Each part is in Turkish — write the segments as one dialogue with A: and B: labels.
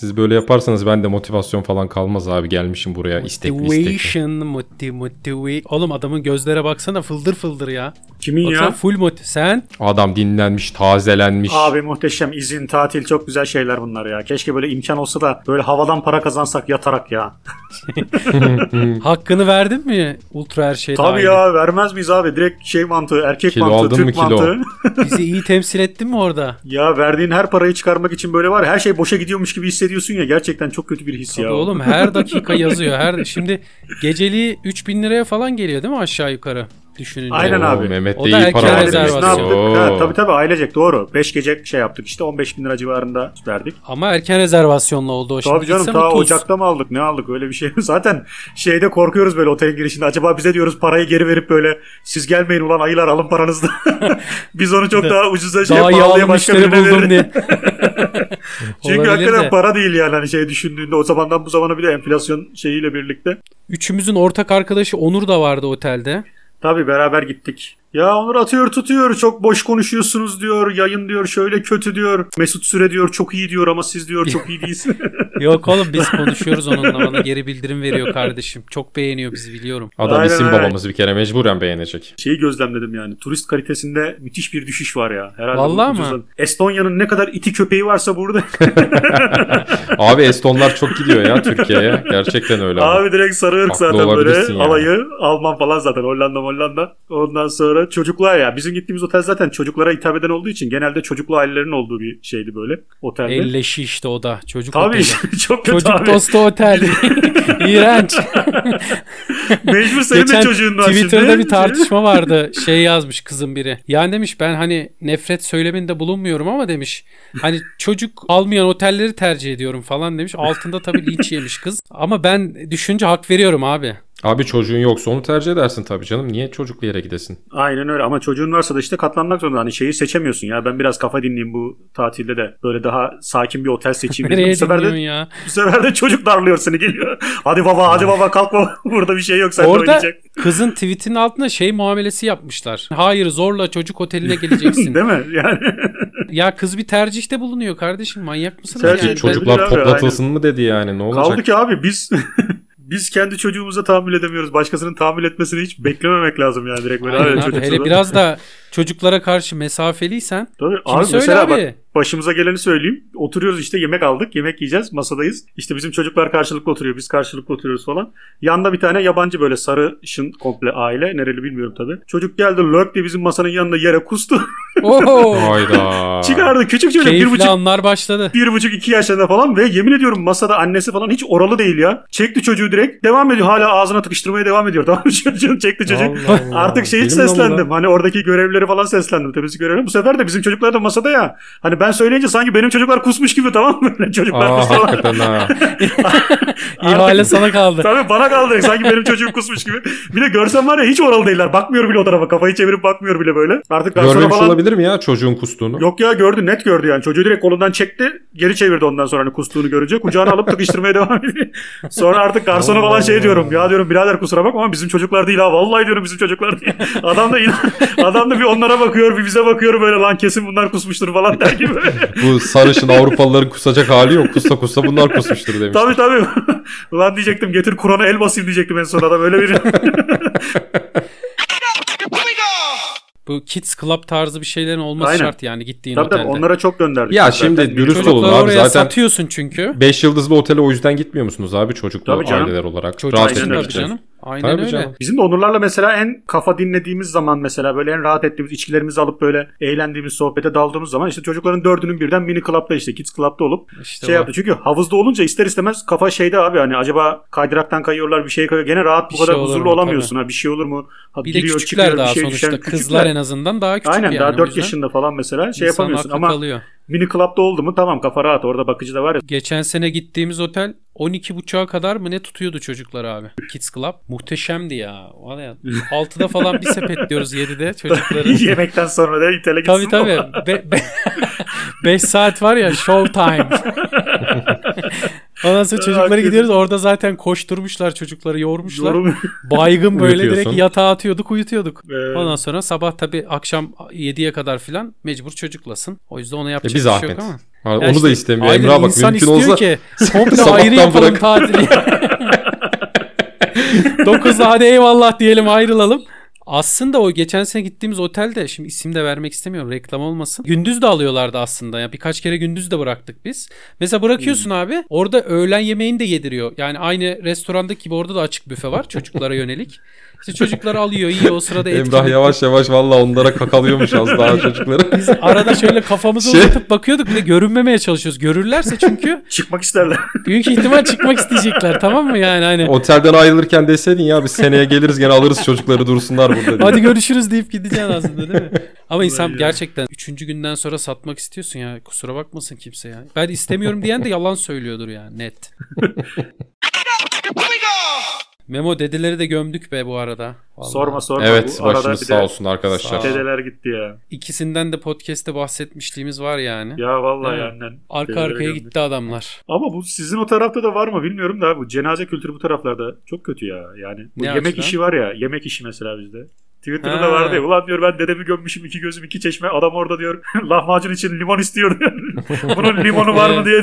A: Siz böyle yaparsanız ben de motivasyon falan kalmaz abi. Gelmişim buraya istekli istekli.
B: Motivation, moti, motivi. Oğlum adamın gözlere baksana fıldır fıldır ya.
C: Kimin
B: Baksana
C: ya?
B: full moti. Sen
A: Adam dinlenmiş, tazelenmiş.
C: Abi muhteşem izin, tatil çok güzel şeyler bunlar ya. Keşke böyle imkan olsa da böyle havadan para kazansak yatarak ya.
B: hakkını verdin mi ultra her şeyde?
C: Tabii ya vermez miyiz abi? Direkt şey mantığı, erkek
A: Kilo
C: mantığı,
A: aldın
C: Türk
A: mı kilo?
C: mantığı.
B: Bizi iyi temsil ettin mi orada?
C: ya verdiğin her parayı çıkarmak için böyle var ya, her şey boşa gidiyormuş gibi hissediyorsun ya. Gerçekten çok kötü bir his
B: Tabii
C: ya.
B: oğlum her dakika yazıyor. Her şimdi geceliği 3000 liraya falan geliyor değil mi aşağı yukarı düşününce?
C: Aynen
A: Oo,
C: abi.
A: Mehmet
B: O
A: de
B: da
A: iyi
B: erken
A: para
C: Yani biz
A: harcamış.
C: ne
B: rezervasyon.
C: yaptık?
A: Oo.
C: Ha, tabii tabii ailecek doğru. 5 gece şey yaptık işte 15 bin lira civarında verdik.
B: Ama erken rezervasyonla oldu o E şimdi.
C: Tabii canım
B: Gitsen
C: ta
B: otuz.
C: Ocak'ta mı aldık ne aldık öyle bir şey. Zaten şeyde korkuyoruz böyle otelin girişinde. Acaba bize diyoruz parayı geri verip böyle siz gelmeyin ulan ayılar alın paranızı. Biz onu çok daha ucuza şey
B: Daha
C: pahalıya
B: yağlı
C: başka
B: müşteri
C: birine
B: buldum
C: veririz.
B: diye.
C: Çünkü
B: Olabilir
C: hakikaten
B: de.
C: para değil yani hani şey düşündüğünde o zamandan bu zamana bir de enflasyon şeyiyle birlikte.
B: Üçümüzün ortak arkadaşı Onur da vardı otelde.
C: Tabii beraber gittik. Ya Onur atıyor tutuyor çok boş konuşuyorsunuz diyor yayın diyor şöyle kötü diyor Mesut Süre diyor çok iyi diyor ama siz diyor çok iyi değilsiniz.
B: Yok oğlum biz konuşuyoruz onunla bana geri bildirim veriyor kardeşim. Çok beğeniyor bizi biliyorum.
A: Adam
C: Aynen
A: isim
C: öyle.
A: babamızı bir kere mecburen beğenecek.
C: Şeyi gözlemledim yani turist kalitesinde müthiş bir düşüş var ya. Herhalde
B: Vallahi
C: bu
B: mi?
C: ucuzdan- Estonya'nın ne kadar iti köpeği varsa burada
A: Abi Estonlar çok gidiyor ya Türkiye'ye. Gerçekten öyle. Abi.
C: abi direkt sarı ırk
A: Haklı
C: zaten
A: olabilirsin
C: böyle
A: yani.
C: alayı Alman falan zaten Hollanda Hollanda. Ondan sonra çocuklar ya bizim gittiğimiz otel zaten çocuklara hitap eden olduğu için genelde çocuklu ailelerin olduğu bir şeydi böyle otelde.
B: Elleşi işte o da. Çocuk
C: Tabii
B: oteli.
C: çok kötü
B: Çocuk
C: abi.
B: dostu otel. İğrenç.
C: Mecbur senin
B: Geçen
C: de çocuğun var
B: Twitter'da
C: şimdi.
B: bir tartışma vardı. Şey yazmış kızın biri. Yani demiş ben hani nefret söyleminde bulunmuyorum ama demiş hani çocuk almayan otelleri tercih ediyorum falan demiş. Altında tabii linç yemiş kız. Ama ben düşünce hak veriyorum abi.
A: çocuğun yoksa onu tercih edersin tabii canım. Niye çocuklu yere gidesin?
C: Aynen öyle ama çocuğun varsa da işte katlanmak zorunda. Hani şeyi seçemiyorsun ya ben biraz kafa dinleyeyim bu tatilde de böyle daha sakin bir otel seçeyim. dedim.
B: Nereye
C: bu sefer
B: dinliyorsun
C: de,
B: ya?
C: bu sefer de çocuk darlıyor seni geliyor. Hadi baba hadi baba kalk baba burada bir şey yok sen de
B: Orada
C: oynayacak.
B: kızın tweetinin altına şey muamelesi yapmışlar. Hayır zorla çocuk oteline geleceksin.
C: Değil mi? Yani
B: ya kız bir tercihte bulunuyor kardeşim manyak mısın?
C: Tercih-
B: Yani?
C: Çocuk-
A: Çocuklar
C: abi,
A: toplatılsın mı dedi yani ne olacak?
C: kaldı ki abi biz biz kendi çocuğumuza tahammül edemiyoruz. Başkasının tahammül etmesini hiç beklememek lazım yani direkt böyle.
B: Aynen
C: Abi,
B: abi.
C: çocuk
B: Hele
C: sana-
B: biraz da çocuklara karşı mesafeliysen
C: Tabii
B: Şimdi
C: abi
B: söyle
C: mesela
B: abi.
C: bak başımıza geleni söyleyeyim. Oturuyoruz işte yemek aldık. Yemek yiyeceğiz. Masadayız. İşte bizim çocuklar karşılıklı oturuyor. Biz karşılıklı oturuyoruz falan. Yanda bir tane yabancı böyle sarışın komple aile. Nereli bilmiyorum tabii. Çocuk geldi lörk diye bizim masanın yanında yere kustu.
B: Oho.
A: Hayda.
C: Çıkardı. Küçük çocuk. Bir
B: Keyifli
C: buçuk
B: anlar başladı.
C: bir buçuk iki yaşlarında falan ve yemin ediyorum masada annesi falan hiç oralı değil ya. Çekti çocuğu direkt devam ediyor. Hala ağzına tıkıştırmaya devam ediyor. Tamam mı? Çocuğun çekti çocuk.
A: Allah Allah.
C: Artık şey hiç
A: Benim yolumda.
C: seslendim. Hani oradaki görevleri falan seslendim. Temizlik görevleri. Bu sefer de bizim çocuklar da masada ya. Hani ben söyleyince sanki benim çocuklar kusmuş gibi tamam mı? Böyle çocuklar
A: Aa
C: kustu.
A: hakikaten ha.
B: İhale sana kaldı.
C: Tabii bana kaldı. Sanki benim çocuğum kusmuş gibi. Bir de görsem var ya hiç oralı değiller. Bakmıyor bile o tarafa. Kafayı çevirip bakmıyor bile böyle. Artık garsona
A: Görmemiş
C: falan...
A: olabilir mi ya çocuğun kustuğunu?
C: Yok ya gördü. Net gördü yani. Çocuğu direkt kolundan çekti. Geri çevirdi ondan sonra hani kustuğunu görünce. Kucağına alıp tıkıştırmaya devam ediyor. Sonra artık garsona falan şey diyorum. Ya diyorum birader kusura bakma ama bizim çocuklar değil ha. Vallahi diyorum bizim çocuklar değil. Adam da, inan- adam da bir onlara bakıyor bir bize bakıyor böyle lan kesin bunlar kusmuştur falan der gibi.
A: Bu sarışın Avrupalıların kusacak hali yok. Kussa kussa bunlar kusmuştur demiş.
C: tabii tabii. Ulan diyecektim getir Kur'an'a el basayım diyecektim en son adam. Öyle bir
B: Bu kids club tarzı bir şeylerin olması
C: Aynen.
B: şart yani gittiğin
C: Tabii tabii
B: otelde.
C: onlara çok gönderdik.
A: Ya
C: biz zaten.
A: şimdi dürüst olun
B: Çocukları
A: abi
B: oraya
A: zaten
B: satıyorsun çünkü.
A: 5 yıldızlı otele o yüzden gitmiyor musunuz abi çocuklu
C: Tabii canım.
A: aileler olarak?
B: Çocuk
A: Rahat
B: için
A: etmek
B: tabii
A: için.
B: canım. Aynen
A: Tabii
B: öyle.
A: canım.
C: Bizim de Onurlarla mesela en kafa dinlediğimiz zaman mesela böyle en rahat ettiğimiz içkilerimizi alıp böyle eğlendiğimiz sohbete daldığımız zaman işte çocukların dördünün birden mini club'da işte kids club'da olup
B: İşte
C: şey
B: o.
C: yaptı. Çünkü havuzda olunca ister istemez kafa şeyde abi hani acaba kaydıraktan kayıyorlar bir şeye kayıyor. Gene rahat
B: Bir
C: bu kadar
B: şey olur
C: huzurlu
B: mu?
C: olamıyorsun ha bir şey olur mu? Ha,
B: Bir de
C: giriyor,
B: küçükler
C: çıkıyor, bir
B: daha
C: şey
B: sonuçta.
C: düşen
B: Kızlar
C: küçükler.
B: en azından daha küçük
C: Aynen
B: yani.
C: daha
B: o
C: 4
B: yüzden
C: yaşında falan mesela
B: insanın
C: şey yapamıyorsun
B: aklı
C: ama
B: kalıyor.
C: mini club'da oldu mu tamam kafa rahat orada bakıcı da var ya.
B: Geçen sene gittiğimiz otel 12.30'a kadar mı ne tutuyordu çocuklar abi? Kids Club muhteşemdi ya. Var ya 6'da falan bir sepetliyoruz 7'de çocukları.
C: Yemekten sonra da itele gitsin.
B: tabii tabii. 5 saat var ya show time. Ondan sonra çocuklara
C: Hakikaten.
B: gidiyoruz. Orada zaten koşturmuşlar çocukları, yormuşlar.
C: Yorum. Ee,
B: Baygın böyle direkt
A: Uyutuyorsun.
B: yatağa atıyorduk, uyutuyorduk.
C: Evet.
B: Ondan sonra sabah tabii akşam 7'ye kadar filan mecbur çocuklasın. O yüzden ona yapacak
A: bir
B: bir, şey
A: zahmet.
B: yok ama.
A: Ha,
B: Ya
A: onu
B: işte,
A: da istemiyor.
B: aynen
A: Emrah bak
B: insan
A: mümkün
B: istiyor
A: olsa
B: ki komple
A: sabahtan
B: ayrı yapalım
A: bırak.
B: tatili. 9'da hadi eyvallah diyelim ayrılalım. Aslında o geçen sene gittiğimiz otelde şimdi isim de vermek istemiyorum reklam olmasın. Gündüz de alıyorlardı aslında ya birkaç kere gündüz de bıraktık biz. Mesela bırakıyorsun
A: Hmm.
B: abi orada öğlen yemeğini de yediriyor. Yani aynı restorandaki gibi orada da açık büfe var çocuklara yönelik. İşte çocuklar alıyor yiyor o sırada
A: Emrah
B: etkinlik
A: yavaş yavaş valla onlara kakalıyormuş az daha çocukları.
B: Arada şöyle kafamızı
A: Şey-
B: uzatıp bakıyorduk bir de görünmemeye çalışıyoruz. Görürlerse çünkü
C: Çıkmak isterler.
B: büyük ihtimal çıkmak isteyecekler tamam mı yani hani.
A: Otelden ayrılırken deseydin ya biz seneye geliriz gene alırız çocukları dursunlar burada diye.
B: Hadi görüşürüz deyip gideceksin aslında değil mi? Ama insan
C: ya.
B: gerçekten üçüncü günden sonra satmak istiyorsun ya. Kusura bakmasın kimse ya. Ben istemiyorum diyen de yalan söylüyordur yani net. Memo dedeleri de gömdük be bu arada. Vallahi.
C: sorma sorma.
A: Evet
C: Bu arada
A: başınız
C: bir de
A: sağ olsun arkadaşlar.
B: Sağ ol.
C: Dedeler gitti ya.
B: İkisinden de podcast'te bahsetmişliğimiz var yani.
C: Ya vallahi
B: Evet.
C: annen.
B: Arka
C: dedelere
B: arkaya
C: gömdü.
B: gitti adamlar.
C: Ama bu sizin o tarafta da var mı bilmiyorum da bu cenaze kültürü bu taraflarda çok kötü ya. Yani bu
B: Ne
C: yemek
B: açıdan?
C: işi var ya. Yemek işi mesela bizde. Twitter'da
B: Ha.
C: da vardı ya. Ulan diyor ben dedemi gömmüşüm iki gözüm iki çeşme. Adam orada diyor lahmacun için limon istiyor diyor. Bunun limonu var mı diye.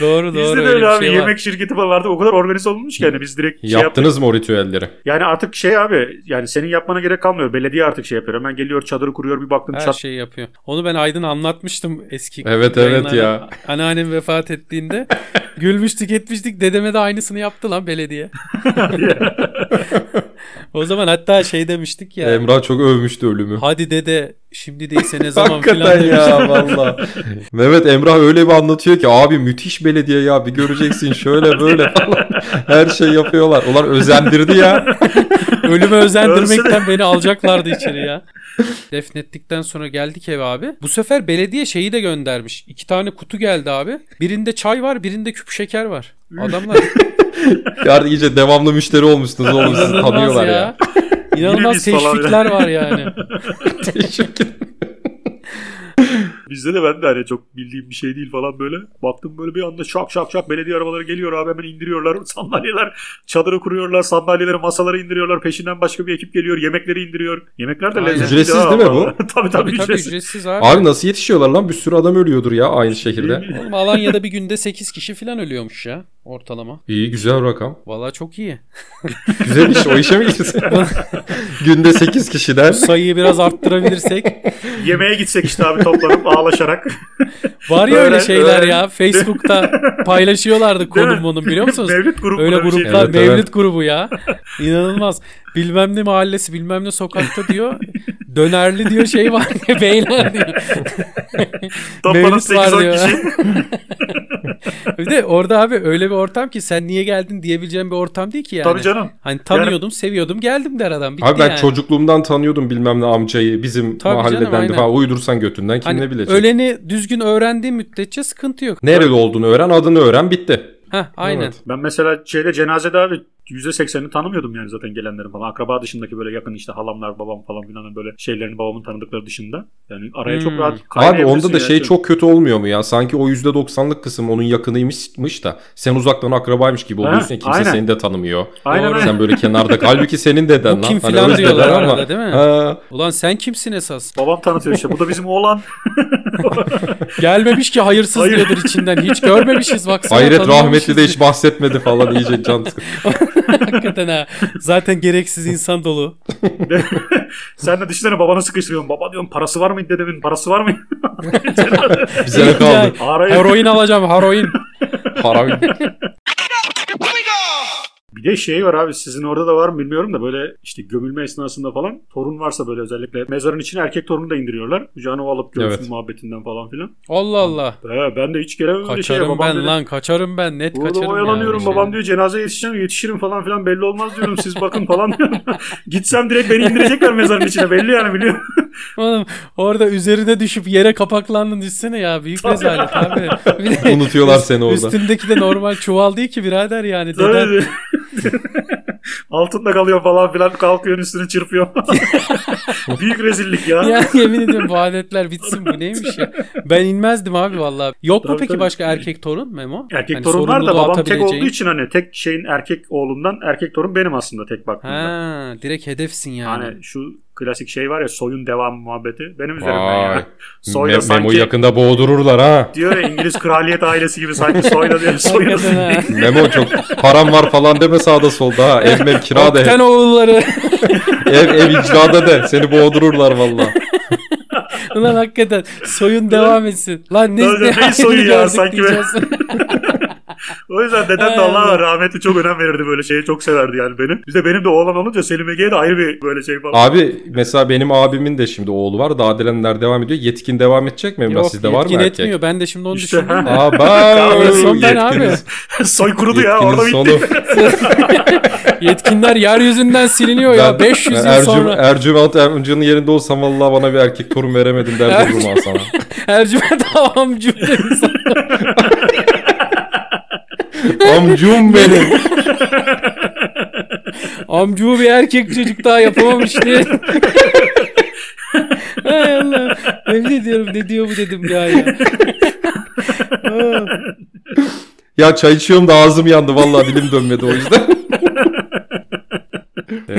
B: Doğru doğru
C: Bizde de
B: öyle
C: öyle
B: bir
C: abi
B: şey var.
C: yemek şirketi falan vardı. O kadar organize olmuş ki yani biz direkt şey yaptık.
A: Yaptınız mı o ritüelleri?
C: Yani artık şey abi yani senin yapmana gerek kalmıyor. Belediye artık şey yapıyor. Hemen geliyor çadırı kuruyor bir baktın
B: Her
C: çat.
B: şeyi yapıyor. Onu ben Aydın anlatmıştım eski.
A: Evet, evet
B: yayınlarda.
A: ya.
B: Anneannem vefat ettiğinde gülmüştük etmiştik. Dedeme de aynısını yaptı lan belediye. o zaman hatta şey demiştik ya.
A: Emrah çok övmüştü ölümü.
B: Hadi dede şimdi değilse ne zaman filan
A: Hakikaten
B: demiş.
A: ya valla. Mehmet Emrah öyle bir anlatıyor ki abi müthiş belediye ya bir göreceksin şöyle böyle falan. Her şey yapıyorlar. Ulan özendirdi ya.
B: Ölüme özendirmekten beni alacaklardı içeri ya. Defnettikten sonra geldik eve abi. Bu sefer belediye şeyi de göndermiş. İki tane kutu geldi abi. Birinde çay var birinde küp şeker var. Adamlar
A: Artık iyice devamlı müşteri olmuşsunuz oğlum sizi
B: İnanılmaz
A: tanıyorlar ya.
B: İnanılmaz
C: biz falan
B: teşvikler var yani.
A: Teşekkür
C: Bizde de ben de hani çok bildiğim bir şey değil falan böyle. Baktım böyle bir anda şak şak şak belediye arabaları geliyor abi hemen indiriyorlar sandalyeler. Çadırı kuruyorlar sandalyeleri masaları indiriyorlar. Peşinden başka bir ekip geliyor yemekleri indiriyor. Yemekler de
B: Aynen.
C: lezzetli.
A: Ücretsiz
C: ha,
A: değil mi
C: vallahi. tabii tabii,
B: Tabii tabii
C: ücretsiz.
B: ücretsiz abi.
A: Abi nasıl yetişiyorlar lan? Bir sürü adam ölüyordur ya aynı şekilde.
C: Değil mi?
B: Oğlum Alanya'da bir günde 8 kişi falan ölüyormuş ya ortalama.
A: İyi güzel rakam.
B: Valla çok iyi.
A: Güzel iş o işe mi girsin? Günde 8 kişiden.
B: Sayıyı biraz arttırabilirsek.
C: Yemeğe gitsek işte abi toplanıp ağlaşarak.
B: Var ya öyle
C: Öğren-
B: şeyler
C: öğren-
B: ya. Facebook'ta paylaşıyorlardı
C: Değil mi?
B: konum onun biliyor musunuz?
C: Mevlüt grubu.
B: Öyle
C: böyle bir şey.
B: gruplar
A: Evet,
B: mevlid
A: evet.
B: grubu ya. İnanılmaz. Bilmem ne mahallesi bilmem ne sokakta diyor. Dönerli diyor şey var ya beyler diyor.
C: Toplanıp
B: Mevlüt var
C: 8-10
B: diyor.
C: kişi.
B: Bir de orada abi öyle bir ortam ki sen niye geldin diyebileceğim bir ortam değil ki yani.
C: Tabii canım.
B: Hani tanıyordum, seviyordum, geldim der adam. Bitti
A: Abi ben
B: yani.
A: çocukluğumdan tanıyordum bilmem ne amcayı bizim
B: Tabii
A: mahalleden
B: canım, aynen.
A: falan uydursan götünden kim
B: Hani
A: ne bilecek.
B: öleni düzgün öğrendiğin müddetçe sıkıntı yok.
A: Nereli olduğunu öğren adını öğren bitti.
B: Heh, aynen.
A: Evet.
C: Ben mesela şeyde cenazede abi %80'ini tanımıyordum yani zaten gelenlerin falan. Akraba dışındaki böyle yakın işte halamlar, babam falan filan böyle şeylerin babamın tanıdıkları dışında. Yani araya çok
B: Hmm.
C: rahat
A: Abi
C: kaynayabilirsin
A: onda da
C: ya.
A: şey çok kötü olmuyor mu ya? Sanki o %90'lık kısım onun yakınıymış da sen uzaktan akrabaymış gibi
C: Ha,
A: oluyorsun. Kimse
C: aynen.
A: seni de tanımıyor.
C: Aynen
B: Doğru.
C: aynen.
A: Sen böyle kenarda. Halbuki senin
B: Bu
A: deden lan.
B: kim
A: Hani
B: filan
A: öz deden
B: diyorlar
A: ama-
B: arada değil mi?
A: Ha,
B: Ulan sen kimsin esas?
C: Babam tanıtıyor işte. Bu da bizim oğlan.
B: Gelmemiş ki hayırsız
C: Hayır.
B: nedir içinden. Hiç görmemişiz baksana.
A: Hayret
B: tanımamışız
A: rahmetli de hiç bahsetmedi falan iyice can sıkı-
B: Hakikaten ha. Zaten gereksiz insan dolu.
C: Sen de düşünsene babana sıkıştırıyorsun. Baba diyorum parası var mı dedemin parası var mı?
A: Bize ne kaldı?
C: Araya.
B: Heroin alacağım heroin.
A: Para
C: Bir de şey var abi sizin orada da var mı bilmiyorum da böyle işte gömülme esnasında falan torun varsa böyle özellikle mezarın içine erkek torunu da indiriyorlar. Kucağına o alıp görsün
A: Evet.
C: muhabbetinden falan filan.
B: Allah Allah.
C: He, ben de hiç gene öyle şey
B: Kaçarım
C: babam
B: ben
C: dedi,
B: lan kaçarım ben net
C: Burada
B: kaçarım.
C: oyalanıyorum
B: yani. şey.
C: babam diyor cenazeye yetişeceğim yetişirim falan filan belli olmaz diyorum siz bakın falan diyorum. Gitsem direkt beni indirecekler mezarın içine belli yani biliyor.
B: Oğlum orada üzerine düşüp yere kapaklandın düşsene ya büyük rezalet abi. Bir de
A: Unutuyorlar seni orada.
B: Üstündeki de normal çuval değil ki birader yani. Deden
C: Tabii. Altında kalıyor falan filan kalkıyorsun üstünü çırpıyor. Büyük rezillik ya.
B: Ya yemin ediyorum bu adetler bitsin bu neymiş ya. Ben inmezdim abi vallahi. Yok mu
C: Tabii,
B: peki
C: tabii.
B: başka erkek torun Memo?
C: Erkek
B: Hani
C: torunlar da
B: sorumluluğu
C: babam tek olduğu
B: atabileceğin.
C: için hani tek şeyin erkek oğlundan erkek torun benim aslında tek baktığımda. Hani
B: Ha direkt hedefsin yani.
C: Yani şu klasik şey var ya soyun devam muhabbeti. Benim üzerimden
A: Vay.
C: ya. Soyla
A: Me- Memo'yu
C: sanki
A: yakında boğdururlar ha.
C: diyor ya İngiliz kraliyet ailesi gibi sanki soyla diyor. Soyla.
B: Hakikaten ha.
A: Memo çok param var falan deme sağda solda ha. Ev mev kira de.
B: Oktan oğulları.
A: ev ev icrada de. Seni boğdururlar valla.
B: Ulan hakikaten soyun devam etsin. Lan ne,
C: Lan
B: ne
C: ne
B: halini
C: soyu ya,
B: gördük
C: sanki be.
B: diyeceğiz.
C: o yüzden dedem de
B: Ay
C: Allah'a
B: Allah.
C: rahmetli çok önem verirdi böyle şeye. Çok severdi yani beni. Bir de benim de oğlan olunca Selim Ege'ye de ayrı bir böyle şey falan.
A: Abi mesela benim abimin de şimdi oğlu var. Daha dilenler devam ediyor. Yetkin devam edecek mi? Emrah
B: Yok
A: sizde var mı
B: yetkin
A: erkek?
B: etmiyor. Ben de şimdi onu
C: İşte,
B: düşündüm de.
A: Aa ben
C: Kavga
B: sonu ben abi.
A: yetkiniz-
C: Soy kurudu ya
A: yetkiniz
C: orada bitti.
A: sonu.
B: Yetkinler yeryüzünden siliniyor ya.
A: Ben-
B: 500
A: ben
B: yıl
A: Ercü-
B: sonra.
A: Ercüment Ermcan'ın yerinde olsam vallahi bana bir erkek torun veremedim derdi
B: Ercü-
A: Ercü... Durma sana.
B: Ercüment amcum.
A: Amcum benim.
B: Amcu bir erkek çocuk daha yapamamış diye. Hay Allah. Emin ediyorum ne diyor bu dedim ya ya. Aa,
A: Ya çay içiyorum da ağzım yandı vallahi dilim dönmedi o yüzden.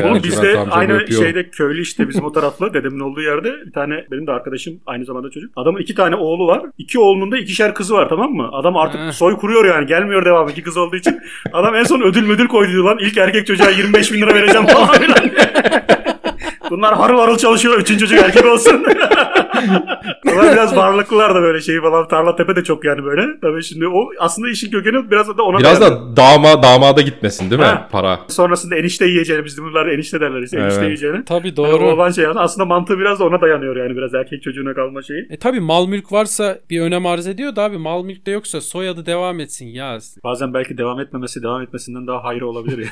C: Oğlum bizde
A: amcanı
C: aynı
A: öpüyorum.
C: şeyde köylü işte bizim o taraflı dedemin olduğu yerde bir tane benim de arkadaşım aynı zamanda çocuk. Adamın iki tane oğlu var. İki oğlunun da ikişer kızı var tamam mı? Adam
B: Ha.
C: artık soy kuruyor yani gelmiyor devamı iki kız olduğu için. Adam en son ödül müdül koydu lan ilk erkek çocuğa 25 bin lira vereceğim falan filan. Bunlar harıl harıl çalışıyorlar. Üçüncü çocuk erkek olsun. Bunlar biraz varlıklılar da böyle şey falan. Tarla tepe de çok yani böyle. Tabii şimdi o aslında işin kökeni biraz da ona
A: Biraz
C: dayanıyor.
A: da dama, damada gitmesin değil mi
C: Ha.
A: para?
C: Sonrasında enişte yiyeceğini biz de bunlar enişte derler işte enişte
A: Evet.
C: yiyeceğini.
B: tabii
C: Doğru.
B: doğru.
C: olan şey yani. aslında mantığı biraz da ona dayanıyor yani biraz erkek çocuğuna kalma şeyi.
B: E tabii mal mülk varsa bir önem arz ediyor da abi mal mülk de yoksa soyadı devam etsin ya.
C: Bazen belki devam etmemesi devam etmesinden daha hayır olabilir ya.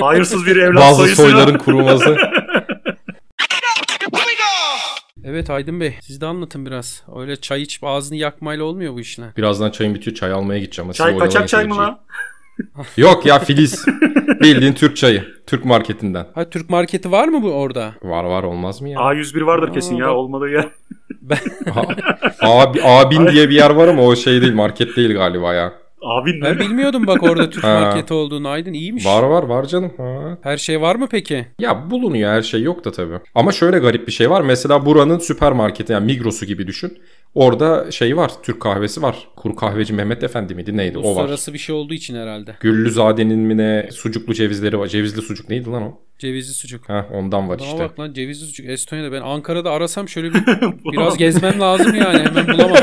C: Hayırsız bir evlat
A: Bazı
C: soyusuyla-
A: soyların kuruması.
B: Evet Aydın Bey siz de anlatın biraz. Öyle çay içip ağzını yakmayla olmuyor bu işler.
A: Birazdan çayım bitiyor. Çay almaya gideceğim. ama siz
C: Çay
A: oyalayın
C: kaçak çay mı
A: seyirciyi.
C: lan?
A: Yok ya Filiz. Bildiğin Türk çayı. Türk marketinden.
B: Ha Türk marketi var mı bu orada?
A: Var var olmaz mı ya?
C: A101 vardır
B: Aa,
C: kesin ya
B: bak.
C: olmadığı yer.
A: Abi, abin diye bir yer var ama o şey değil market değil galiba ya.
C: Abin
B: Ben
C: ne?
B: bilmiyordum bak orada Türk
A: Ha.
B: marketi olduğunu Aydın. iyiymiş.
A: Var var var canım. Ha.
B: Her şey var mı peki?
A: Ya bulunuyor her şey yok da tabii. Ama şöyle garip bir şey var. Mesela buranın süpermarketi yani Migros'u gibi düşün. Orada şey var. Türk kahvesi var. Kuru kahveci Mehmet Efendi miydi neydi o var.
B: Uluslararası bir şey olduğu için herhalde.
A: Güllüzade'nin mi ne sucuklu cevizleri var. Cevizli sucuk neydi lan o?
B: Cevizli sucuk.
A: Heh, ondan var
B: Bana
A: işte.
B: bak lan cevizli sucuk Estonya'da ben Ankara'da arasam şöyle bir biraz gezmem lazım yani hemen bulamam.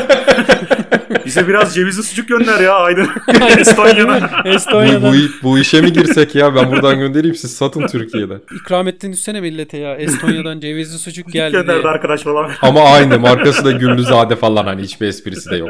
C: Bize biraz cevizli sucuk gönder ya Aydın. Estonya'da.
A: Bu,
B: Estonya'da.
A: bu, bu işe mi girsek ya? Ben buradan göndereyim siz satın Türkiye'de.
B: İkram ettin üstüne millete ya. Estonya'dan cevizli sucuk geldi diye.
C: Gönderdi arkadaş falan.
A: Ama aynı markası da Güllüzade falan hani hiçbir esprisi de yok.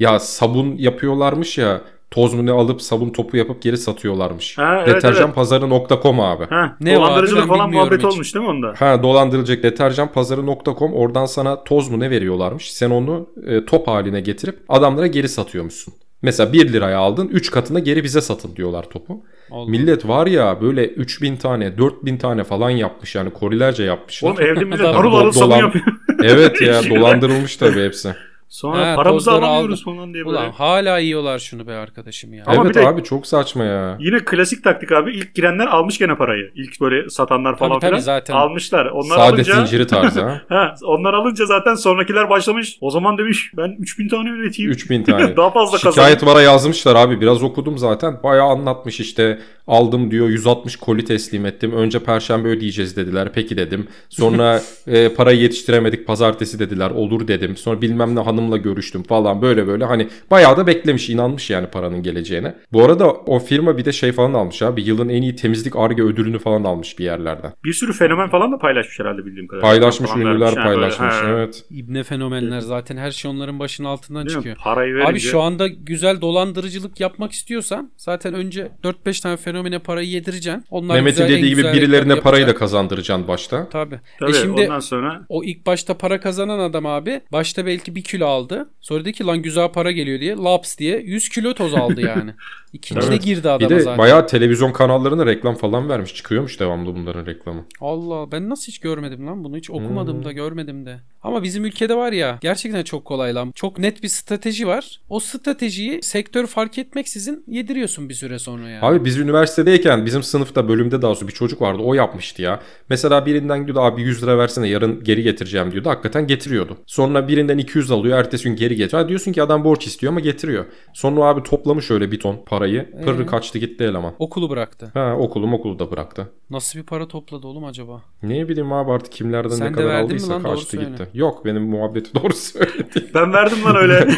A: Ya sabun yapıyorlarmış ya toz mu ne alıp sabun topu yapıp geri satıyorlarmış.
C: Ha, evet,
A: Deterjan
C: evet.
A: pazarı.com abi. Ha.
C: Ha,
B: Ne
C: dolandırıcılık
B: vardı ben
C: falan
B: bilmiyorum
C: muhabbet
B: hiç.
C: olmuş değil mi onda?
A: dolandırılacak deterjan pazarı.com oradan sana toz mu ne veriyorlarmış. Sen onu e, top haline getirip adamlara geri satıyormuşsun. Mesela 1 liraya aldın 3 katına geri bize satın diyorlar topu.
B: Allah.
A: Millet var ya böyle 3000 tane 4000 tane falan yapmış yani korilerce yapmışlar.
C: Oğlum evde millet
B: Adam
C: harıl
A: do-
C: harıl sabun
A: dolan-
C: yapıyor.
A: Evet ya
C: Şeyler.
A: dolandırılmış tabii hepsi.
C: Sonra
B: Ha,
C: paramızı
B: tozları
C: alamıyoruz falan diye böyle.
B: Ulan hala yiyorlar şunu be arkadaşım ya.
C: Ama
A: evet
C: bir de-
A: abi çok saçma ya.
C: Yine klasik taktik abi. İlk girenler almış gene parayı. İlk böyle satanlar falan
B: Tabii tabii
C: filan.
B: zaten.
C: Almışlar. Onlar
A: Sade
C: alınca
A: zinciri tarzı ha.
C: Ha, onlar alınca zaten sonrakiler başlamış. O zaman demiş ben 3000 tane üreteyim.
A: 3000 tane.
C: Daha fazla kazanayım.
A: Şikayet vara yazmışlar abi. Biraz okudum zaten. Bayağı anlatmış işte. Aldım diyor 160 koli teslim ettim. Önce perşembe ödeyeceğiz dediler. Peki dedim. Sonra e, parayı yetiştiremedik pazartesi dediler. Olur dedim. Sonra bilmem ne hanımla görüştüm falan böyle böyle. Hani bayağı da beklemiş inanmış yani paranın geleceğine. Bu arada o firma bir de şey falan almış abi. Yılın en iyi temizlik arge ödülünü falan almış bir yerlerden.
C: Bir sürü fenomen falan da paylaşmış herhalde bildiğim kadarıyla.
A: Paylaşmış
C: Ee, Falan vermiş.
A: ünlüler
C: Ha, böyle,
A: paylaşmış.
C: ha.
A: Evet.
B: İbne fenomenler zaten her şey onların başının altından
C: Değil mi?
B: çıkıyor.
C: Parayı verince.
B: Abi şu anda güzel dolandırıcılık yapmak istiyorsan zaten önce 4-5 tane fenomene parayı yedireceksin. Onlar
A: Mehmet'in
B: güzel- en
A: dediği gibi
B: güzel reklamı
A: birilerine parayı da
B: yapacak.
A: kazandıracaksın başta.
B: Tabii.
C: Tabii,
B: e şimdi
C: ondan sonra
B: o ilk başta para kazanan adam abi başta belki 1 kilo kilo aldı. Sonra dedi ki lan güzel para geliyor diye laps diye 100 kilo toz aldı yani. İkinci de
A: Evet.
B: girdi
A: Bir
B: adama
A: de
B: zaten.
A: bayağı televizyon kanallarına reklam falan vermiş. Çıkıyormuş devamlı bunların reklamı.
B: Allah ben nasıl hiç görmedim lan bunu hiç okumadım
A: Hmm.
B: da görmedim de. Ama bizim ülkede var ya gerçekten çok kolay lan. Çok net bir strateji var. O stratejiyi sektör fark etmeksizin yediriyorsun bir süre sonra yani.
A: Abi biz üniversitedeyken bizim sınıfta bölümde daha sonra bir çocuk vardı o yapmıştı ya. Mesela birinden gidiyordu abi 100 lira versene yarın geri getireceğim diyordu. Hakikaten getiriyordu. Sonra birinden 200 alıyor ertesi gün geri getiriyor. Ha diyorsun ki adam borç istiyor ama getiriyor. Sonra o abi toplamış öyle bir ton parayı. Pırrı
B: Ee?
A: kaçtı gitti eleman.
B: Okulu bıraktı.
A: Ha okulu okulu da bıraktı.
B: Nasıl bir para topladı oğlum acaba?
A: Ne bileyim abi artık kimlerden
B: Sen
A: ne
B: de
A: kadar
B: verdin mi
A: aldıysa
B: lan? Doğru
A: kaçtı
B: söyle.
A: gitti. Yok benim muhabbeti doğru söyledi.
C: Ben verdim lan öyle.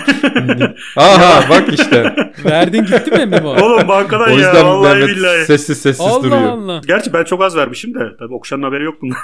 A: Aha bak işte.
B: Verdin gitti mi mi bu?
C: Oğlum bankadan
A: o
C: ya
A: yüzden
C: vallahi
A: Mehmet
C: billahi.
A: sessiz sessiz
B: Allah
A: duruyor.
B: Allah.
C: Gerçi ben çok az vermişim de. Tabii Okşan'ın haberi yok bundan.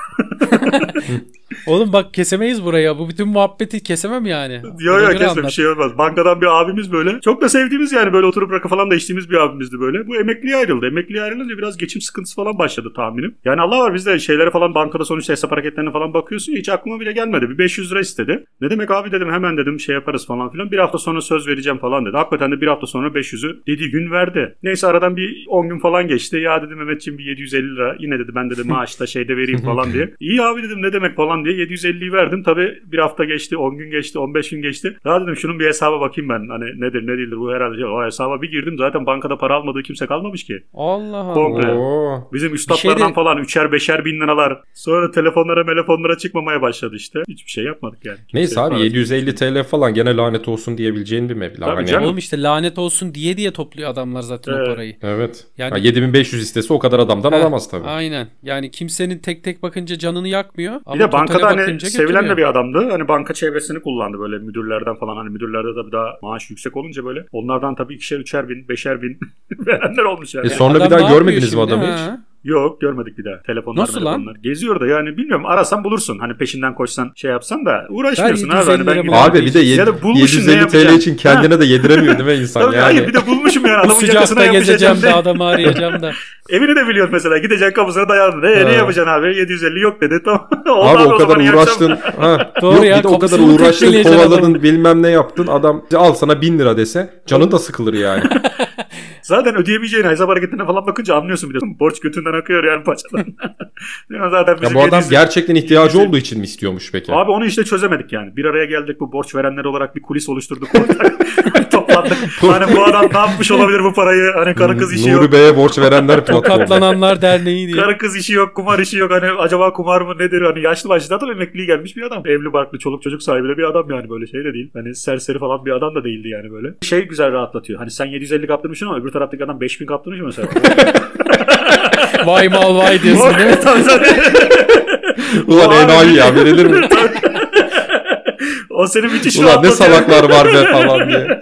B: Oğlum bak kesemeyiz buraya. Bu bütün muhabbeti kesemem yani. Buna
C: Yo yo
B: göre
C: kesme bir
B: anlat.
C: şey olmaz. Bankadan bir abimiz böyle. Çok da sevdiğimiz yani böyle oturup rakı falan da içtiğimiz bir abimizdi böyle. Bu emekliye ayrıldı. Emekliye ayrılınca biraz geçim sıkıntısı falan başladı tahminim. Yani Allah var bizde şeylere falan bankada sonuçta hesap hareketlerine falan bakıyorsun ya hiç aklıma bile gelmedi. Bir 500 lira istedi. Ne demek abi dedim hemen dedim şey yaparız falan filan. Bir hafta sonra söz vereceğim falan dedi. Hakikaten de bir hafta sonra 500'ü dediği gün verdi. Neyse aradan bir 10 gün falan geçti. Ya dedim Mehmetciğim bir 750 lira. Yine dedi ben dedi maaşta şeyde vereyim falan diye. İyi abi dedim ne demek falan diye 750'yi verdim. Tabii bir hafta geçti, 10 gün geçti, 15 gün geçti. Ya dedim şunun bir hesaba bakayım ben. Hani nedir ne değildir bu herhalde. O hesaba bir girdim zaten bankada para almadığı kimse kalmamış ki.
B: Allah
C: Komple.
B: Allah.
C: Komple.
A: Oo.
C: Bizim
B: Bir şey
C: üstadlardan
B: de-
C: falan üçer beşer bin liralar. Sonra telefonlara telefonlara çıkmamaya başladı işte. Hiçbir şey yapmadık yani.
A: Neyse
C: Kimseye
A: abi
C: para-
A: 750 TL falan gene lanet olsun diyebileceğin bir meblağ.
C: Tabii
A: Hani-
C: canım.
B: Oğlum işte lanet olsun diye diye topluyor adamlar zaten
C: Evet.
B: o parayı.
A: Evet.
B: Yani-
A: Yani... 7500 istese o kadar adamdan
B: Ha,
A: alamaz tabii.
B: Aynen. Yani kimsenin tek tek bakınca canını yakmıyor. Ama
C: Bir de bankada
B: totale
C: hani
B: bakınca
C: sevilen de
B: götürüyor.
C: bir adamdı. Hani banka çevresini kullandı böyle müdürlerden falan. Hani müdürlerde tabii daha maaş yüksek olunca böyle. Onlardan tabii ikişer üçer bin, beşer bin verenler olmuş yani.
A: E sonra
B: Adam
A: bir daha
B: ne
A: görmediniz mi
B: yapıyor
A: adamı
B: şimdi,
A: hiç?
B: ha?
C: Yok görmedik bir daha. Telefonlar
B: Nasıl lan?
C: telefonlar. Geziyor da yani bilmiyorum arasan bulursun. Hani peşinden koşsan şey yapsan da uğraşmıyorsun abi. Hani
B: 750
C: ben
B: lira
C: gidiyorum.
B: bana.
A: Abi bir de
C: Ya
A: yed-
C: da bulmuşsun, ne
A: 750 TL
C: yapacaksın?
A: için kendine de yediremiyor değil mi insan
C: Tabii
A: yani?
C: hayır bir de bulmuşum yani.
B: Bu
C: Adamın yakasına
B: sıcakta gezeceğim de
C: yapışacağım de.
B: adamı arayacağım da.
C: Evini de biliyorsun mesela. Gideceksin kapısına dayandın. E,
A: Ha.
C: ne yapacaksın abi? 750 yok dedi. Tamam. Oldu
A: Abi o
C: zaman
A: kadar
C: iyi akşamlar.
A: uğraştın. Ha.
B: Doğru
A: Yok,
B: ya,
A: bir de o kadar
B: kapısını
A: uğraştın,
B: tekmeleyeceksin
A: kovaladın,
B: adamı.
A: bilmem ne yaptın. Adam al sana 1000 lira dese canın da sıkılır yani.
C: Zaten ödeyemeyeceğin hesap hareketlerine falan bakınca anlıyorsun bir de. Borç götünden akıyor yani paçadan. Yani zaten
A: ya
C: bizim
A: bu adam
C: 750
A: gerçekten ihtiyacı olduğu için mi istiyormuş peki?
C: Abi onu işte çözemedik yani. Bir araya geldik bu borç verenler olarak bir kulis oluşturduk. Toplandık. hani bu adam ne yapmış olabilir bu parayı? Hani karı kız işi yok.
A: Nuri Bey'e borç verenler platformu.
B: Tokatlananlar Derneği diye.
C: Karı kız işi yok, kumar işi yok. Hani acaba kumar mı nedir? Hani yaşlı başlı adam emekliye gelmiş bir adam. Evli barklı, çoluk çocuk sahibi de bir adam yani böyle şey de değil. Hani serseri falan bir adam da değildi yani böyle. Şey güzel rahatlatıyor. Hani sen 750 kaptırmışsın ama öbür taraftaki adam 5000 kaptırmış mesela.
B: Vay mal vay diyorsun değil mi?
C: Tabii, tabii.
A: Ulan enayi ya verilir mi?
C: o seni müthiş
A: Ulan ne
C: rahatlatıyor.
A: salaklar var be falan diye.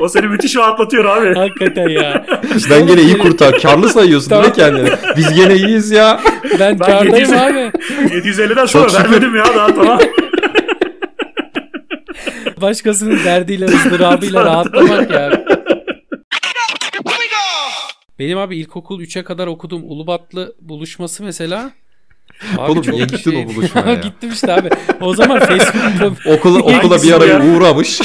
C: O seni müthiş rahatlatıyor abi.
B: Hakikaten ya.
A: Ben gene iyi kurtar. Karlı sayıyorsun değil mi kendini? Biz gene iyiyiz ya.
B: Ben
C: Ben
B: kardayım
C: 700
B: abi.
C: 750'den sonra
A: Çok şükür.
C: vermedim ya daha tamam.
B: Başkasının derdiyle ızdırabıyla rahatlamak ya. Benim abi ilkokul 3'e kadar okuduğum Ulubatlı buluşması mesela. Abi
A: Oğlum
B: çok
A: niye gittin o buluşmaya
B: Ha,
A: ya?
B: Gittim işte abi. O zaman Facebook
A: Okula, okula bir
C: Hangisi
A: ara
C: ya?
A: uğramış.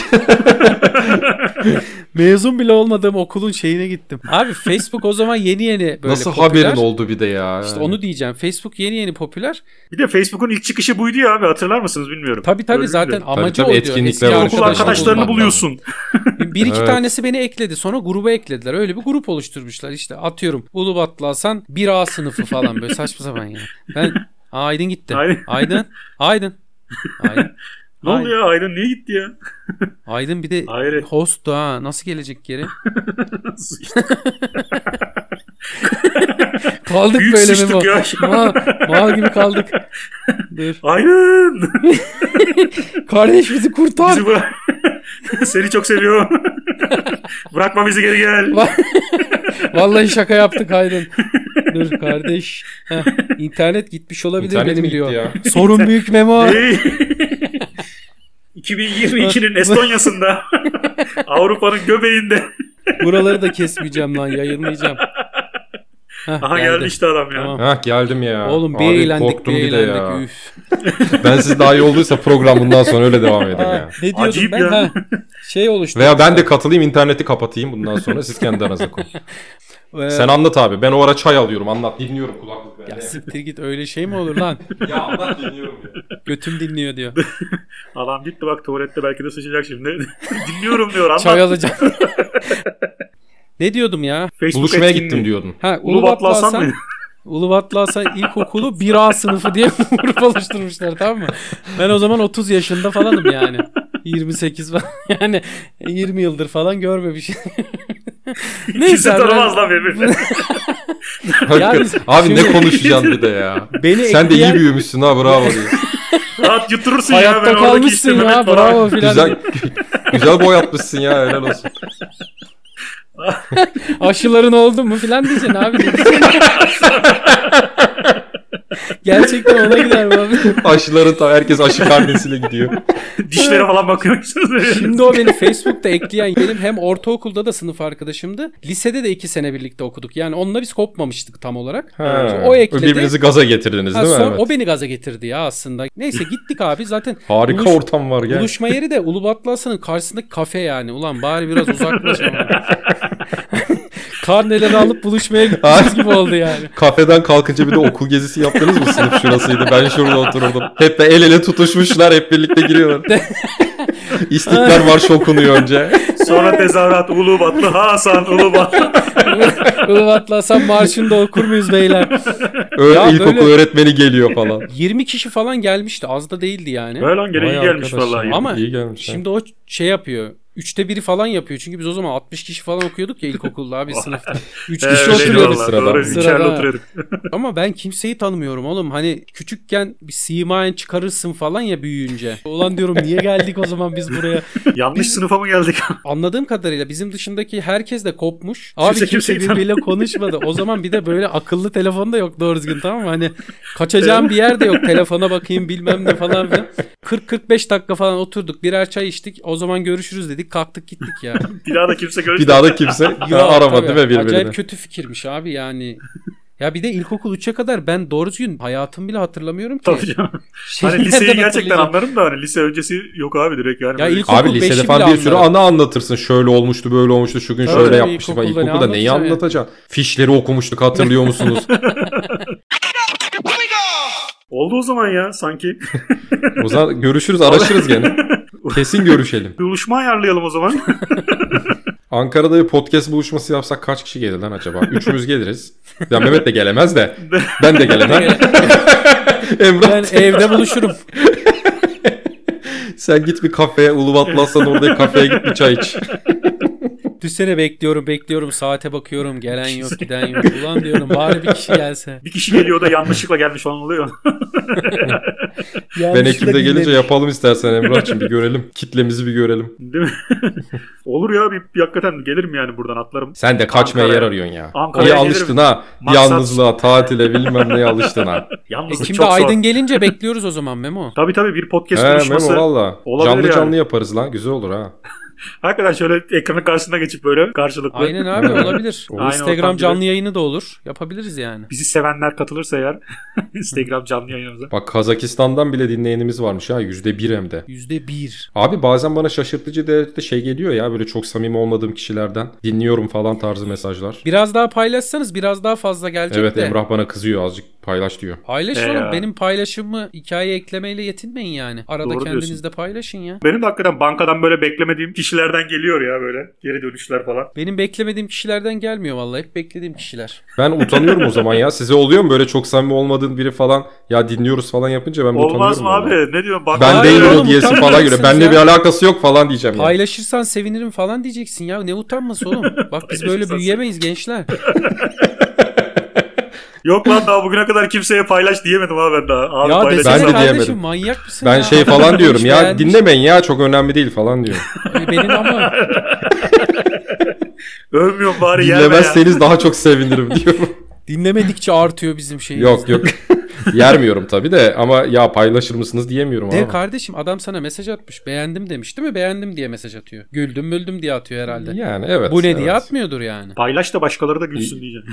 B: mezun bile olmadığım okulun şeyine gittim. Abi Facebook o zaman yeni yeni böyle
A: Nasıl
B: popüler.
A: haberin oldu bir de ya?
B: İşte onu diyeceğim. Facebook yeni yeni popüler.
C: Bir de Facebook'un ilk çıkışı buydu ya abi hatırlar mısınız bilmiyorum.
B: Tabii tabii
C: Öyle
B: zaten
C: biliyorum.
B: amacı
A: tabii,
B: o diyor.
A: etkinlikler
B: Eski
A: olsun.
C: okul
A: arkadaşlar
C: arkadaşlarını
A: bulman
C: buluyorsun.
B: Bir iki
A: Evet.
B: tanesi beni ekledi. Sonra gruba eklediler. Öyle bir grup oluşturmuşlar. İşte atıyorum Ulubatlı Hasan 1A sınıfı falan böyle saçma sapan ya. Ben Aa, Aydın gitti.
C: Aynen.
B: Aydın. Aydın. Aydın.
C: Ne oldu ya Aydın niye gitti ya?
B: Aydın bir de
C: Hayret.
B: host da ha. Nasıl gelecek geri? Kaldık
C: Büyük
B: böyle mi?
C: sıçtık
B: bu?
C: ya.
B: Mal, mal gibi kaldık. Dur.
C: Aydın.
B: Kardeş bizi kurtar.
C: Bizi bırak. Seni çok seviyorum. Bırakma bizi geri gel.
B: Va- Vallahi şaka yaptık Aydın. Dur kardeş. Heh, internet gitmiş olabilir
A: İnternet
B: benim
A: mi gitti
B: diyor.
A: ya?
B: Sorun büyük Memo.
C: Ey. 2022'nin Estonya'sında Avrupa'nın göbeğinde
B: Buraları da kesmeyeceğim lan yayınlayacağım.
C: Aha geldi,
B: geldi.
C: işte adam ya.
B: Tamam.
A: Hah geldim ya.
B: Oğlum bir
A: Abi
B: eğlendik
A: korktum
B: bir
A: bir de ya.
B: eğlendik. Üf.
A: Ben siz daha iyi olduysa program bundan sonra öyle devam edelim
B: Aa,
A: ya.
B: ne diyordum
C: Acayip
B: ben?
C: ya.
B: Ha, şey oluştu.
A: Veya ben de katılayım interneti kapatayım bundan sonra siz kendi aranızda konuşun.
B: Ee,
A: Sen anlat abi. Ben o ara çay alıyorum. Anlat. Dinliyorum kulaklık bende.
B: ya siktir git öyle şey mi olur lan?
A: Ya anlat dinliyorum. ya.
B: Götüm dinliyor diyor.
C: Adam gitti bak tuvalette belki de sıçacak şimdi. Dinliyorum diyor anlat.
B: Çay alacağım. ne diyordum ya?
C: Facebook
A: Buluşmaya
C: etkinliği.
A: gittim diyordun.
B: Ha,
C: Ulubatlı Hasan mı?
B: Ulubatlı Hasan İlkokulu 1A sınıfı diye bir grup oluşturmuşlar tamam mı? Ben o zaman 30 yaşında falanım yani. 28 falan yani 20 yıldır falan görmemiş.
C: Kimse
B: abi, ben-
C: tanımaz lan birbirini.
A: Hakikaten. abi
B: şimdi-
A: ne konuşacaksın bir de ya.
B: Beni
A: Sen de iyi
B: ekleyen-
A: büyümüşsün ha bravo. diyor.
C: Rahat yutturursun ya.
B: Hayatta
C: ben oradaki
B: kalmışsın
C: işte
B: ya
C: Mehmet falan.
B: bravo filan.
A: güzel güzel boy atmışsın ya helal olsun.
B: Aşıların oldu mu filan diyeceksin abi. Gerçekten ona gider mi abi?
A: Aşıların tam herkes aşı karnesiyle gidiyor.
C: Dişlere falan bakıyormuşsunuz.
B: Şimdi o beni Facebook'ta ekleyen benim hem ortaokulda da sınıf arkadaşımdı. Lisede de iki sene birlikte okuduk. Yani onunla biz kopmamıştık tam olarak.
A: Ha.
B: O ekledi.
A: Birbirinizi gaza getirdiniz
B: Ha,
A: değil mi?
B: son-
A: Evet.
B: O beni gaza getirdi ya aslında. Neyse gittik abi zaten.
A: Harika
B: buluş-
A: ortam var gel.
B: Buluşma yeri de Ulubatlı Hasan'ın karşısındaki kafe yani. Ulan bari biraz uzaklaş ama. Karneleri alıp buluşmaya gittiğimiz gibi oldu yani.
A: Kafeden kalkınca bir de okul gezisi yaptınız mı? Sınıf şurasıydı. Ben şurada otururdum. Hep de el ele tutuşmuşlar. Hep birlikte giriyorlar. İstiklal Marşı okunuyor önce.
C: Sonra tezahürat Ulubatlı Hasan Ulubatlı.
B: Ulubatlı Hasan marşını da okur muyuz beyler?
A: Öyle
B: Ya
A: ilkokul
B: böyle-
A: öğretmeni geliyor falan.
B: 20 kişi falan gelmişti. Az da değildi yani.
C: Böyle lan gene iyi
A: Vay
C: gelmiş
A: arkadaş
C: vallahi.
A: ya,
B: Ama
A: iyi gelmiş.
B: Şimdi o şey yapıyor. Üçte biri falan yapıyor. Çünkü biz o zaman 60 kişi falan okuyorduk ya ilkokulda abi sınıfta. Üç
C: Ee,
B: kişi
C: öyleydi
A: oturuyordu
B: oturuyorduk.
C: vallahi,
A: sırada.
C: Doğru,
B: Sırada.
C: içeride oturuyorduk.
B: Ama ben kimseyi tanımıyorum oğlum. Hani küçükken bir simayen çıkarırsın falan ya büyüyünce. Ulan diyorum niye geldik o zaman biz buraya?
C: Yanlış sınıfa mı geldik?
B: Anladığım kadarıyla bizim dışındaki herkes de kopmuş. Abi kimse,
C: kimseyi
B: birbiriyle konuşmadı. O zaman bir de böyle akıllı telefon da yok doğru düzgün tamam mı? Hani kaçacağım bir yer de yok. Telefona bakayım bilmem ne falan filan. 40-45 dakika falan oturduk. Birer çay içtik. O zaman görüşürüz dedik. Kalktık gittik ya.
C: bir daha da kimse
A: Bir
C: görüşmedi.
A: daha da kimse aramadı
B: tabii.
A: ve birbirini.
B: Acayip kötü fikirmiş abi yani. Ya bir de ilkokul 3'e kadar ben doğru düzgün hayatım bile hatırlamıyorum ki.
C: Tabii canım.
B: Şeyi
C: Hani liseyi
B: nereden
C: gerçekten
B: hatırlayacağım?
C: anlarım da hani lise öncesi yok abi direkt yani.
B: Ya
C: böyle-
B: ilk-
A: Abi
B: İlkokul
A: lisede
B: beşi
A: falan
B: bile
A: bir sürü
B: anlarım.
A: ana anlatırsın. Şöyle olmuştu, böyle olmuştu, şu gün
B: Tabii,
A: şöyle
B: tabii,
A: yapmıştık. İlkokulda,
B: ilkokulda ne
A: ilkokulda neyi
B: anlatacağım
A: anlatacaksın? Fişleri okumuştuk hatırlıyor musunuz?
C: Oldu o zaman ya sanki.
A: o zaman görüşürüz, araşırız gene. Kesin görüşelim.
C: bir buluşma ayarlayalım o zaman.
A: Ankara'da bir podcast buluşması yapsak kaç kişi gelir lan acaba? Üçümüz geliriz. Ya Mehmet de gelemez de. Ben de gelemem. Emrah
B: Ben evde buluşurum.
A: sen git bir kafeye. Ulubatlı Aslan oradaki kafeye git bir çay iç.
B: Düşsene bekliyorum bekliyorum saate bakıyorum gelen yok giden yok. Ulan diyorum bari bir kişi gelse.
C: bir kişi geliyor da yanlışlıkla gelmiş falan oluyor.
A: Ben Ekim'de gelince yapalım istersen Emrah'cığım bir görelim. Kitlemizi bir görelim.
C: Değil mi? Olur ya bir, bir hakikaten gelirim yani buradan atlarım.
A: Sen de kaçmaya
C: Ankara'ya-
A: yer arıyorsun ya.
C: Ankara'ya
A: İyi
C: gelirim.
A: alıştın ha.
C: Maksat-
A: Yalnızlığa, tatile bilmem neye alıştın ha.
C: Yalnız
B: Ekim'de
C: çok
B: Aydın
C: zor.
B: gelince bekliyoruz o zaman Memo.
C: Tabii tabii bir podcast
A: He
C: buluşması.
A: Memo valla.
C: olabilir
A: Canlı
C: yani.
A: canlı yaparız lan. Güzel olur ha.
C: Hakikaten şöyle ekranın karşısına geçip böyle karşılıklı.
B: Aynen abi olabilir.
C: Aynen
B: Instagram
C: ortam
B: canlı yayını da olur. Yapabiliriz yani.
C: Bizi sevenler katılırsa eğer Instagram canlı yayınımıza.
A: Bak Kazakistan'dan bile dinleyenimiz varmış ha. %1 hem de.
B: Yüzde bir.
A: Abi bazen bana şaşırtıcı derecede şey geliyor ya böyle çok samimi olmadığım kişilerden dinliyorum falan tarzı mesajlar.
B: Biraz daha paylaşsanız biraz daha fazla gelecek
A: Evet
B: de.
A: Emrah bana kızıyor azıcık paylaş diyor.
B: Paylaşın
C: Ee,
B: oğlum.
C: ya.
B: Benim paylaşımı hikaye eklemeyle yetinmeyin yani. Arada
C: Doğru
B: kendiniz
C: diyorsun.
B: de paylaşın ya.
C: Benim de hakikaten bankadan böyle beklemediğim kişilerden geliyor ya böyle geri dönüşler falan.
B: Benim beklemediğim kişilerden gelmiyor vallahi. Hep beklediğim kişiler.
A: Ben utanıyorum o zaman ya. Size oluyor mu böyle çok samimi olmadığın biri falan ya dinliyoruz falan yapınca ben
C: Olmaz
A: utanıyorum.
C: mı
A: vallahi.
C: abi? Ne diyorsun? Banka
A: Ben
B: Hayır
A: değil
B: oğlum,
A: o diyesi falan geliyor.
B: utanmıyorsunuz
A: Benle
B: ya.
A: bir alakası yok falan diyeceğim yani.
B: Paylaşırsan sevinirim falan diyeceksin ya. Ne utanması oğlum. Bak biz böyle
C: Paylaşırsan
B: büyüyemeyiz gençler.
C: Yok lan daha bugüne kadar kimseye paylaş diyemedim abi ben daha. Abi
B: ya
C: paylaş.
B: desene
A: Ben de
B: kardeşim
A: diyemedim.
B: manyak mısın
A: Ben
B: ya?
A: şey falan diyorum ya
B: Beğenmiş.
A: dinlemeyin ya çok önemli değil falan diyorum.
B: Benim ama
C: Övmüyorum bari yerme ya.
A: Dinlemezseniz daha çok sevinirim diyorum.
B: dinlemedikçe artıyor bizim şeyimiz.
A: yok yok. Yermiyorum tabii de ama ya paylaşır mısınız diyemiyorum
B: De
A: abi.
B: kardeşim adam sana mesaj atmış. Beğendim demiş değil mi? Beğendim diye mesaj atıyor. Güldüm müldüm diye atıyor herhalde.
A: Yani evet.
B: Bu ne
A: evet.
B: diye atmıyordur yani.
C: Paylaş da başkaları da gülsün diyeceğim.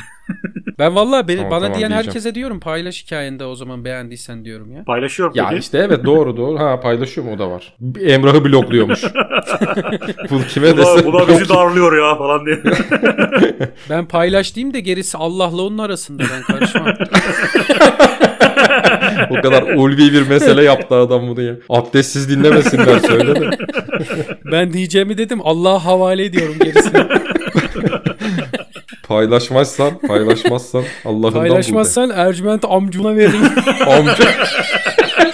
B: Ben vallahi beni,
A: Tamam,
B: bana
A: tamam,
B: diyen
A: diyeceğim.
B: herkese diyorum paylaş hikayende o zaman beğendiysen diyorum ya.
C: Paylaşıyor
A: Ya
C: dedi.
A: işte evet doğru doğru. Ha paylaşıyor mu o da var. Emrah'ı blokluyormuş. Bu kime
C: Buna,
A: dese
C: buna bizi
A: blok-
C: darlıyor ya falan diye.
B: Ben paylaş diyeyim de gerisi Allah'la onun arasında ben karışmam.
A: O kadar ulvi bir mesele yaptı adam bunu ya. Abdestsiz dinlemesinler söyle de.
B: ben diyeceğimi dedim Allah'a havale ediyorum gerisini.
A: Paylaşmazsan, paylaşmazsan Allah'ından
B: Paylaşmazsan Ercüment amcuna vereyim.
A: bul de. Amca.